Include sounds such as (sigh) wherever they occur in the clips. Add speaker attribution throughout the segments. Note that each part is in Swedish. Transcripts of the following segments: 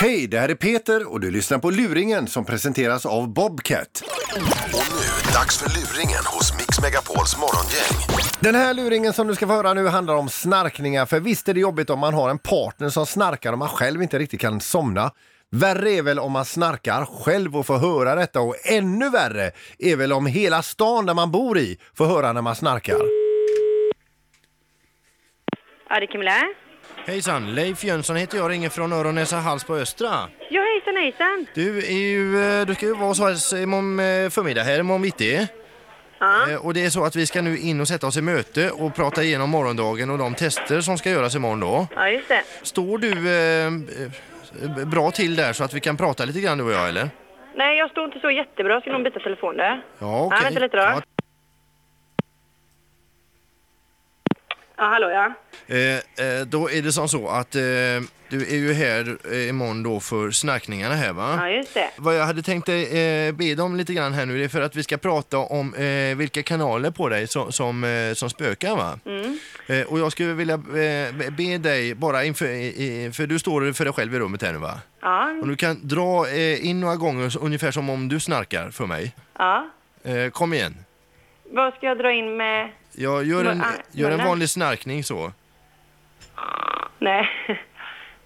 Speaker 1: Hej, det här är Peter och du lyssnar på Luringen som presenteras av Bobcat.
Speaker 2: Och nu, dags för luringen hos Mix Megapols morgongäng.
Speaker 1: Den här luringen som du ska få höra nu handlar om snarkningar. För visst är det jobbigt om man har en partner som snarkar och man själv inte riktigt kan somna. Värre är väl om man snarkar själv och får höra detta och ännu värre är väl om hela stan där man bor i får höra när man snarkar.
Speaker 3: Ja, det är Camilla.
Speaker 4: Hejsan, Leif Jönsson heter jag, ringer från Öronäsa Hals på Östra.
Speaker 3: Ja, hejsan, hejsan.
Speaker 4: Du, är ju, eh, du ska ju vara hos oss imorgon eh, förmiddag här, imorgon bitti.
Speaker 3: Ja.
Speaker 4: Eh, Och det är så att vi ska nu in och sätta oss i möte och prata igenom morgondagen och de tester som ska göras imorgon då.
Speaker 3: Ja, just det.
Speaker 4: Står du eh, eh, bra till där så att vi kan prata lite grann du och jag eller?
Speaker 3: Nej, jag står inte så jättebra. Ska nog byta telefon där.
Speaker 4: Ja, okej.
Speaker 3: vänta lite då.
Speaker 4: Ja,
Speaker 3: Ja, hallå ja.
Speaker 4: eh, eh, då är det som så att eh, du är ju här eh, imorgon då för snarkningarna här va?
Speaker 3: Ja, just det.
Speaker 4: Vad jag hade tänkt eh, be dig om lite grann här nu, det är för att vi ska prata om eh, vilka kanaler på dig som, som, eh, som spökar va? Eh, och jag skulle vilja eh, be- be dig bara inför, i- i- för du står för dig själv i rummet här nu va?
Speaker 3: Ja,
Speaker 4: Och du kan dra eh, in några gånger så- ungefär som om du snarkar för mig.
Speaker 3: ja.
Speaker 4: Eh, kom igen.
Speaker 3: Vad ska jag dra in med?
Speaker 4: Jag gör en,
Speaker 3: Men, ah,
Speaker 4: gör en
Speaker 3: men-
Speaker 4: vanlig snarkning så.
Speaker 3: Nej. (laughs)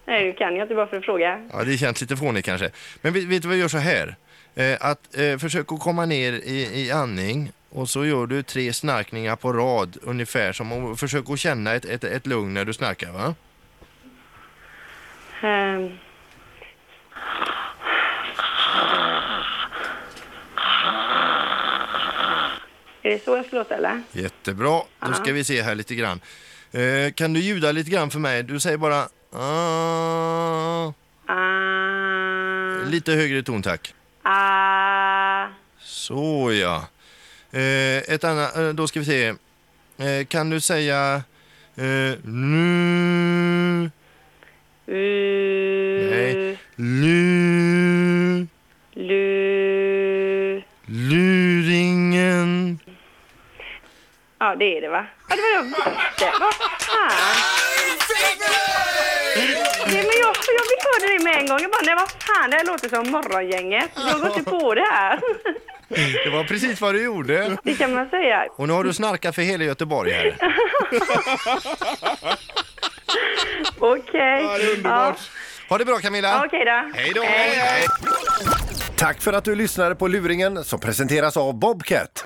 Speaker 3: Nej, du kan jag inte bara för att fråga.
Speaker 4: Ja, det känns lite fånigt kanske. Men vet, vet du vad jag gör så här? Eh, att eh, försök att komma ner i, i andning och så gör du tre snarkningar på rad ungefär som och försök att känna ett, ett, ett lugn när du snarkar va?
Speaker 3: Ehm. Är det så jag ska låta eller?
Speaker 4: Jättebra, då ska vi se här lite grann. Eh, kan du ljuda lite grann för mig? Du säger bara ah,
Speaker 3: Ah,
Speaker 4: lite högre ton tack.
Speaker 3: ah,
Speaker 4: Så ja. Eh, ett annat, eh, då ska vi se. Eh, kan du säga eh, nu,
Speaker 3: uh,
Speaker 4: Nej. nu.
Speaker 3: lu.
Speaker 4: Luringen.
Speaker 3: Ja, det är det va? Ja, det var jag visste. Vad fan! Nej, men jag, jag fick höra det med en gång. Jag bara, nej vad fan, det här låter som Morgongänget. Jag går inte på det här. (laughs)
Speaker 4: Det var precis vad du gjorde.
Speaker 3: Det kan man säga.
Speaker 4: Och nu har du snarkat för hela Göteborg här.
Speaker 3: Okej.
Speaker 4: Ja, det är underbart. Ha det bra Camilla.
Speaker 3: Ja. Okej då.
Speaker 4: Hej då.
Speaker 1: Tack för att du lyssnade på Luringen som presenteras av Bobcat.